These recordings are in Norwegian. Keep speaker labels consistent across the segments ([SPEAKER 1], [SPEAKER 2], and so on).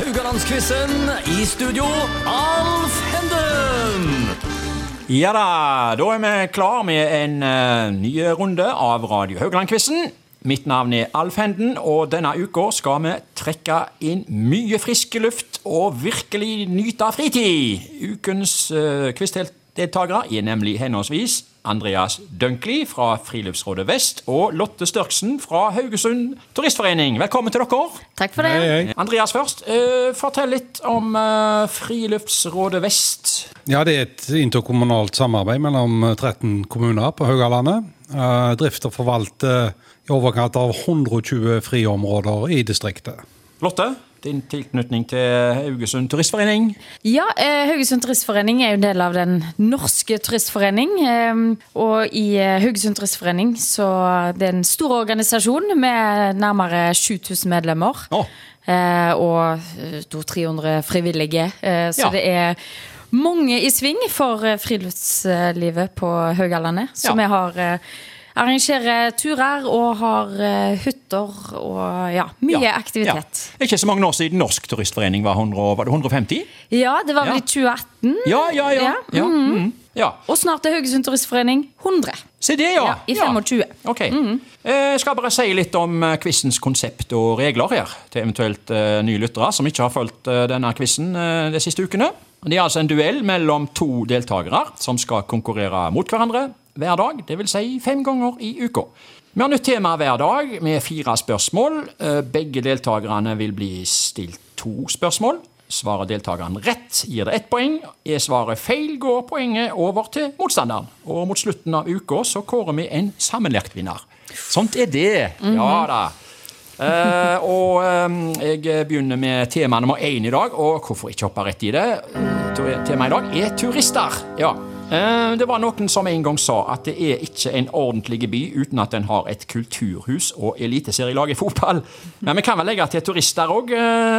[SPEAKER 1] Rogalandsquizen. I studio, Alf Henden!
[SPEAKER 2] Ja da, da er vi klar med en eh, ny runde av Radio Haugland-quizen. Mitt navn er Alf Henden, og denne uka skal vi trekke inn mye frisk luft og virkelig nyte av fritid. Ukens uh, quizdeltakere er nemlig henholdsvis Andreas Dønkli fra Friluftsrådet Vest og Lotte Størksen fra Haugesund Turistforening. Velkommen til dere.
[SPEAKER 3] Takk for det.
[SPEAKER 2] Andreas først, eh, fortell litt om eh, Friluftsrådet Vest.
[SPEAKER 4] Ja, det er et interkommunalt samarbeid mellom 13 kommuner på Haugalandet. Eh, Drifter forvalter eh, i overkant av 120 friområder i distriktet.
[SPEAKER 2] Lotte, din tilknytning til Haugesund turistforening.
[SPEAKER 3] Ja, eh, Haugesund Turistforening er jo en del av den norske turistforening. Eh, og i eh, Haugesund Turistforening så det er en stor organisasjon med nærmere 7000 medlemmer.
[SPEAKER 2] Å.
[SPEAKER 3] Eh, og eh, 200-300 frivillige. Eh, så
[SPEAKER 2] Ja.
[SPEAKER 3] det er mange i sving for eh, friluftslivet på Haugalandet. Så
[SPEAKER 2] Ja.
[SPEAKER 3] vi har eh, arrangerer turer og har eh, hytter og ja, mye aktivitet.
[SPEAKER 2] Ja. Ikke så mange år siden Norsk turistforening var, 100, var det 150?
[SPEAKER 3] Ja, det
[SPEAKER 2] Ja.
[SPEAKER 3] var vel i 2018.
[SPEAKER 2] Ja, ja, ja.
[SPEAKER 3] Ja,
[SPEAKER 2] ja. mm. ja.
[SPEAKER 3] Og snart er Haugesund Turistforening 100.
[SPEAKER 2] Se det, ja.
[SPEAKER 3] Ja, I 25.
[SPEAKER 2] Ok. Jeg skal bare si litt om eh, quizens konsept og regler her, til eventuelt eh, nye lyttere som ikke har fulgt eh, denne quizen eh, de siste ukene. Det er altså en duell mellom to deltakere som skal konkurrere mot hverandre hver dag, dvs. Si fem ganger i uka. Vi har nytt tema hver dag med fire spørsmål. Eh, Begge deltakerne vil bli stilt to spørsmål. Svarer deltakeren rett, gir det ett poeng. Er svaret feil, går poenget over til motstanderen. Og mot slutten av uka så kårer vi en sammenlagt vinner. Sånt er det. Ja da. Eh, og eh, jeg begynner med tema nummer én i dag, og hvorfor ikke hoppe rett i det? Eh, Temaet i dag er turister. Ja. Eh, det var noen som en gang sa at det er ikke en ordentlig by uten at den har et kulturhus og eliteserielag i fotball. Men vi kan vel legge til turister òg,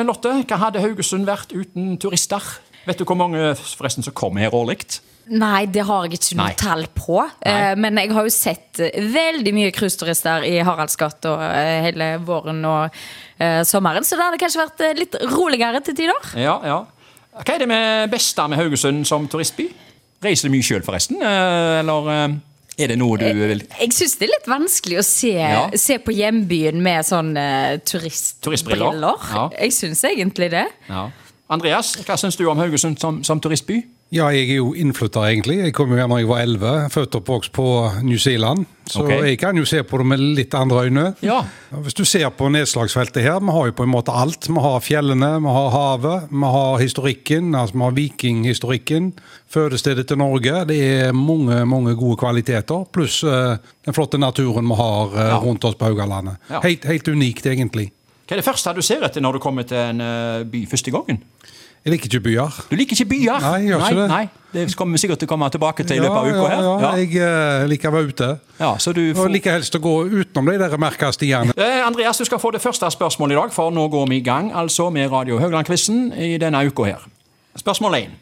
[SPEAKER 2] Lotte. Hva hadde Haugesund vært uten turister? Vet du hvor mange forresten som kommer her årlig?
[SPEAKER 3] Nei, det har jeg ikke noe
[SPEAKER 2] Nei.
[SPEAKER 3] tall på.
[SPEAKER 2] Nei.
[SPEAKER 3] Eh, men jeg har jo sett eh, veldig mye cruiseturister i Haraldsgata eh, hele våren og eh, sommeren, så det hadde kanskje vært eh, litt roligere til tider.
[SPEAKER 2] Ja, ja. Hva er det med beste med Haugesund som turistby? Reiser du mye sjøl, forresten? Eh, Eller eh, er det noe du vil
[SPEAKER 3] Jeg syns det er litt vanskelig å se,
[SPEAKER 2] Ja.
[SPEAKER 3] se på hjembyen med sånn eh, turist
[SPEAKER 2] Turistbriller.
[SPEAKER 3] briller.
[SPEAKER 2] Ja.
[SPEAKER 3] Jeg syns egentlig det.
[SPEAKER 2] ja. Andreas, hva syns du om Haugesund som, som turistby?
[SPEAKER 4] Ja, jeg er jo innflytter, egentlig. Jeg kom jo her når jeg var 11, født og oppvokst på New Zealand. Så
[SPEAKER 2] Ok.
[SPEAKER 4] jeg kan jo se på det med litt andre øyne.
[SPEAKER 2] Ja.
[SPEAKER 4] Hvis du ser på nedslagsfeltet her, vi har jo på en måte alt. Vi har fjellene, vi har havet, vi har historikken, altså vi har vikinghistorikken. Fødestedet til Norge. Det er mange, mange gode kvaliteter. Pluss eh, den flotte naturen vi har eh,
[SPEAKER 2] Ja.
[SPEAKER 4] rundt oss på Haugalandet.
[SPEAKER 2] Ja.
[SPEAKER 4] Helt, helt unikt, egentlig.
[SPEAKER 2] Hva er det første du ser etter når du kommer til en eh, by første gangen?
[SPEAKER 4] Jeg liker ikke byer.
[SPEAKER 2] Du liker ikke byer!
[SPEAKER 4] Nei, jeg gjør
[SPEAKER 2] nei,
[SPEAKER 4] ikke det.
[SPEAKER 2] Nei, det kommer vi sikkert til å komme tilbake til i løpet av uka
[SPEAKER 4] ja,
[SPEAKER 2] her.
[SPEAKER 4] ja,
[SPEAKER 2] Ja.
[SPEAKER 4] Jeg eh, liker å være ute.
[SPEAKER 2] Ja, så du får-
[SPEAKER 4] Og liker helst å gå utenom de der merka stiene.
[SPEAKER 2] Eh, Andreas, du skal få det første spørsmålet i dag, for nå går vi i gang altså med Radio Haugland-quizen i denne uka her. Spørsmål 1.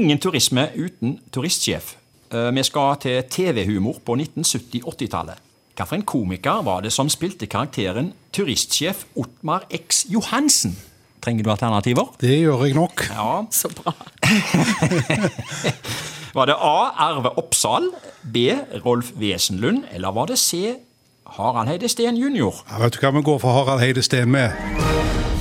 [SPEAKER 2] Ingen turisme uten turistsjef. Eh, vi skal til TV-humor på 1970-80-tallet. Hvilken komiker var det som spilte karakteren turistsjef Otmar X. Johansen? Trenger du alternativer?
[SPEAKER 4] Det gjør jeg nok.
[SPEAKER 2] Ja.
[SPEAKER 3] Så bra.
[SPEAKER 2] Var det A. Arve Oppsal, B. Rolf Wesenlund, eller var det C. Harald Heide Steen jr.?
[SPEAKER 4] Ja, vet du hva vi går for Harald Heide Steen med?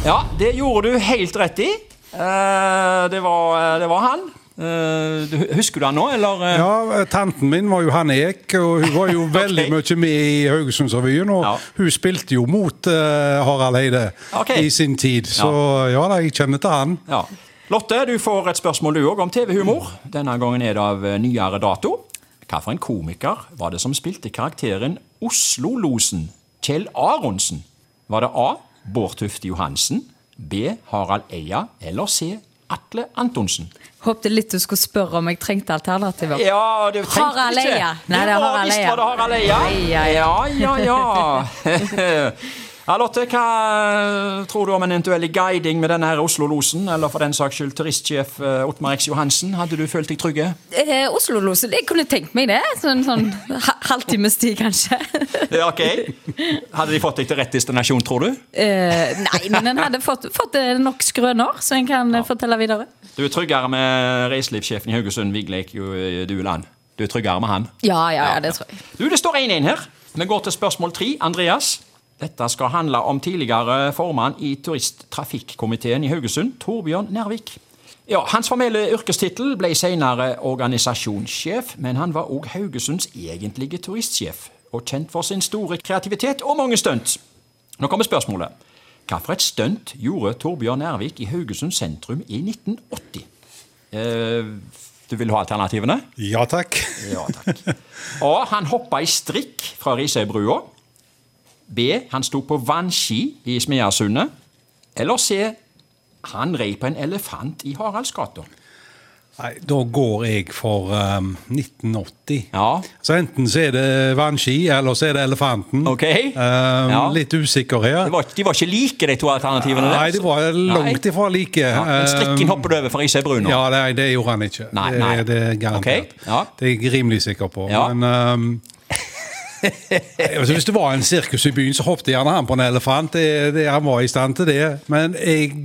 [SPEAKER 2] Ja, det gjorde du helt rett i. Eh, det, var, det var han. Eh, du- husker du han nå, eller? eh?
[SPEAKER 4] Ja, Tanten min var jo Hanne Ek, og hun var jo veldig mye med i Haugesundsrevyen. Og
[SPEAKER 2] Ja.
[SPEAKER 4] hun spilte jo mot eh, Harald Heide
[SPEAKER 2] Ok.
[SPEAKER 4] i sin tid, så ja da, jeg kjenner til han.
[SPEAKER 2] Ja. Lotte, du får et spørsmål du òg om TV-humor. Denne gangen er det av eh, nyere dato. Hvilken komiker var det som spilte karakteren Oslo-losen Kjell Aronsen? Var det A. Bård Tufte Johansen, B. Harald Eia eller C. Atle Antonsen?
[SPEAKER 3] Håpte litt du skulle spørre om jeg trengte alternativer.
[SPEAKER 2] Ja, du tenkte
[SPEAKER 3] Harald
[SPEAKER 2] ikke.
[SPEAKER 3] Eia. Nei, det er
[SPEAKER 2] Ja,
[SPEAKER 3] Harald
[SPEAKER 2] visst
[SPEAKER 3] Eia.
[SPEAKER 2] var det Harald Eia.
[SPEAKER 3] Eia,
[SPEAKER 2] Ja, ja, ja. Ja, Lotte, hva eh, tror du om en eventuell guiding med denne her Oslo-losen, eller for den saks skyld turistsjef eh, Ottmar X. Johansen? Hadde du følt deg trygge?
[SPEAKER 3] Eh, Oslo-losen, jeg kunne tenkt meg det. Sånn, sånn ha- halvtimes tid, kanskje.
[SPEAKER 2] Ja, ok. Hadde de fått deg til rett destinasjon, tror du?
[SPEAKER 3] Eh, nei, men en hadde fått, fått eh, nok skrøner, så en kan eh, fortelle videre.
[SPEAKER 2] Du er tryggere med reiselivssjefen i Haugesund, Vigleik Jo- Dueland. Du er tryggere med han.
[SPEAKER 3] Ja, ja, ja, det tror jeg.
[SPEAKER 2] Du, det står 1-1 her. Vi går til spørsmål 3. Andreas. Dette skal handle om tidligere formann i turisttrafikkomiteen i Haugesund, Torbjørn Nærvik. Ja, Hans formelle yrkestittel ble senere organisasjonssjef, men han var òg Haugesunds egentlige turistsjef, og kjent for sin store kreativitet og mange stunt. Nå kommer spørsmålet. Hvilket stunt gjorde Torbjørn Nærvik i Haugesund sentrum i 1980? Eh, du vil ha alternativene?
[SPEAKER 4] Ja takk.
[SPEAKER 2] Ja, takk. A. Han hoppa i strikk fra Risøybrua. B. Han sto på vannski i Smeasundet. Eller C. Han rei på en elefant i Haraldsgata.
[SPEAKER 4] Nei, da går jeg for ehm, 1980.
[SPEAKER 2] Ja.
[SPEAKER 4] Så enten så er det vannski, eller så er det elefanten.
[SPEAKER 2] Ok.
[SPEAKER 4] Ehm,
[SPEAKER 2] Ja.
[SPEAKER 4] Litt usikker her.
[SPEAKER 2] De var, de var ikke like, de to alternativene. der.
[SPEAKER 4] Nei, de var langt
[SPEAKER 2] Nei.
[SPEAKER 4] ifra like.
[SPEAKER 2] Ja, men strikken
[SPEAKER 4] Ehm,
[SPEAKER 2] hoppet du over fra Risøybrua.
[SPEAKER 4] Ja, nei, det gjorde han ikke.
[SPEAKER 2] Nei,
[SPEAKER 4] det,
[SPEAKER 2] nei.
[SPEAKER 4] det er garantert.
[SPEAKER 2] Ok, ja.
[SPEAKER 4] Det er jeg rimelig sikker på.
[SPEAKER 2] Ja.
[SPEAKER 4] Men ehm, nei, altså, Hvis det var en sirkus i byen, så hoppet gjerne han på en elefant. Det, det, han var i stand til det. Men jeg,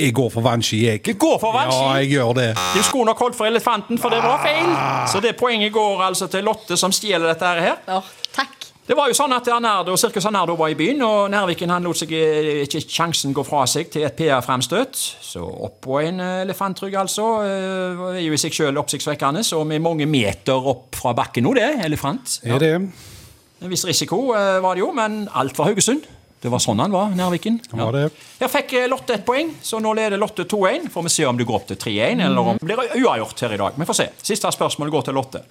[SPEAKER 4] jeg går for vannski, jeg.
[SPEAKER 2] Du går for vannski?
[SPEAKER 4] Ja, jeg gjør det.
[SPEAKER 2] Du skulle nok holdt for elefanten, for det var feil. Så det poenget går altså til Lotte, som stjeler dette her.
[SPEAKER 3] Å, takk.
[SPEAKER 2] Det var jo sånn at Arnardo, Sirkus Arnardo var i byen, og Nærviken han lot seg eh, ikke sjansen gå fra seg til et PR-fremstøt. Så oppå en eh, elefantrygg, altså. eh, er jo i seg sjøl oppsiktsvekkende, og med mange meter opp fra bakken nå, det. Elefant.
[SPEAKER 4] Er det?
[SPEAKER 2] En viss risiko eh, var det jo, men alt var Haugesund. Det var sånn han var, Nærviken.
[SPEAKER 4] Han var det.
[SPEAKER 2] Her fikk eh, Lotte ett poeng, så nå leder Lotte 2-1. Får vi se om det går opp til 3-1, eller om det blir uavgjort her i dag. Vi får se. Siste spørsmål går til Lotte.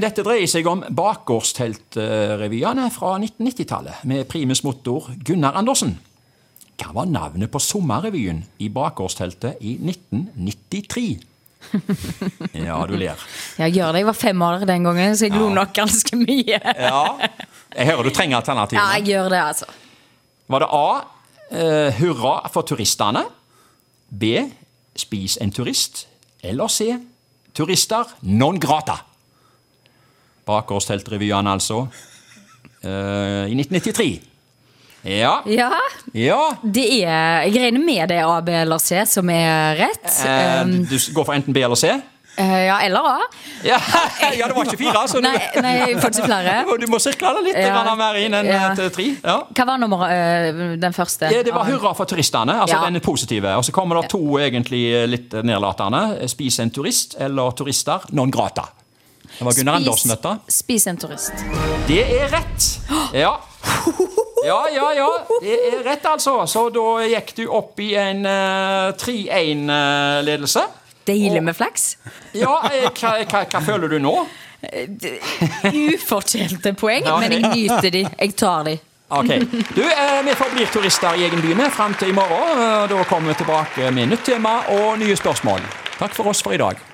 [SPEAKER 2] Dette dreier seg om bakgårdsteltrevyene fra 1990-tallet, med primus motor Gunnar Andersen. Hva var navnet på sommerrevyen i bakgårdsteltet i 1993? Ja, du ler.
[SPEAKER 3] Ja, gjør det. Jeg var fem år den gangen, så jeg lo nok ganske mye.
[SPEAKER 2] Ja. Jeg hører du trenger alternativer.
[SPEAKER 3] Ja, jeg gjør det, altså.
[SPEAKER 2] Var det A. Eh, hurra for turistene. B. Spis en turist. Eller C. Turister non grata. Bakgårdsteltrevyen, altså. Eh, I 1993. Ja.
[SPEAKER 3] Ja,
[SPEAKER 2] Ja.
[SPEAKER 3] det er Jeg regner med det er A, B eller C som er rett.
[SPEAKER 2] Eh,
[SPEAKER 3] Um,
[SPEAKER 2] du går for enten B eller C?
[SPEAKER 3] eh, ja, eller A.
[SPEAKER 2] Ja, ja det var ikke fire, altså.
[SPEAKER 3] Nei, nei, jeg får ikke flere.
[SPEAKER 2] Du, du må sirkle det litt
[SPEAKER 3] Ja.
[SPEAKER 2] grann mer inn enn
[SPEAKER 3] Ja.
[SPEAKER 2] til tre. Ja.
[SPEAKER 3] Hva var nummer, eh, den første?
[SPEAKER 2] Ja, det var hurra for turistene, altså
[SPEAKER 3] Ja.
[SPEAKER 2] den positive. Og så kommer det to egentlig eh, litt nedlatende. Spis en turist, eller turister non grata. Det var Gunnar Andersen, dette.
[SPEAKER 3] Spis en turist.
[SPEAKER 2] Det er rett! Ja. Ja, ja, ja. Det er rett, altså. Så da gikk du opp i en eh, 3-1-ledelse.
[SPEAKER 3] Deilig med flaks. Eh,
[SPEAKER 2] Ja, eh, hva, hva, hva føler du nå?
[SPEAKER 3] Ufortjente poeng,
[SPEAKER 2] Ja.
[SPEAKER 3] men jeg nyter de. Jeg tar de.
[SPEAKER 2] Ok. Du, eh, vi forblir turister i egen by med fram til i morgen. Eh, Da kommer vi tilbake med nytt tema og nye spørsmål. Takk for oss for i dag.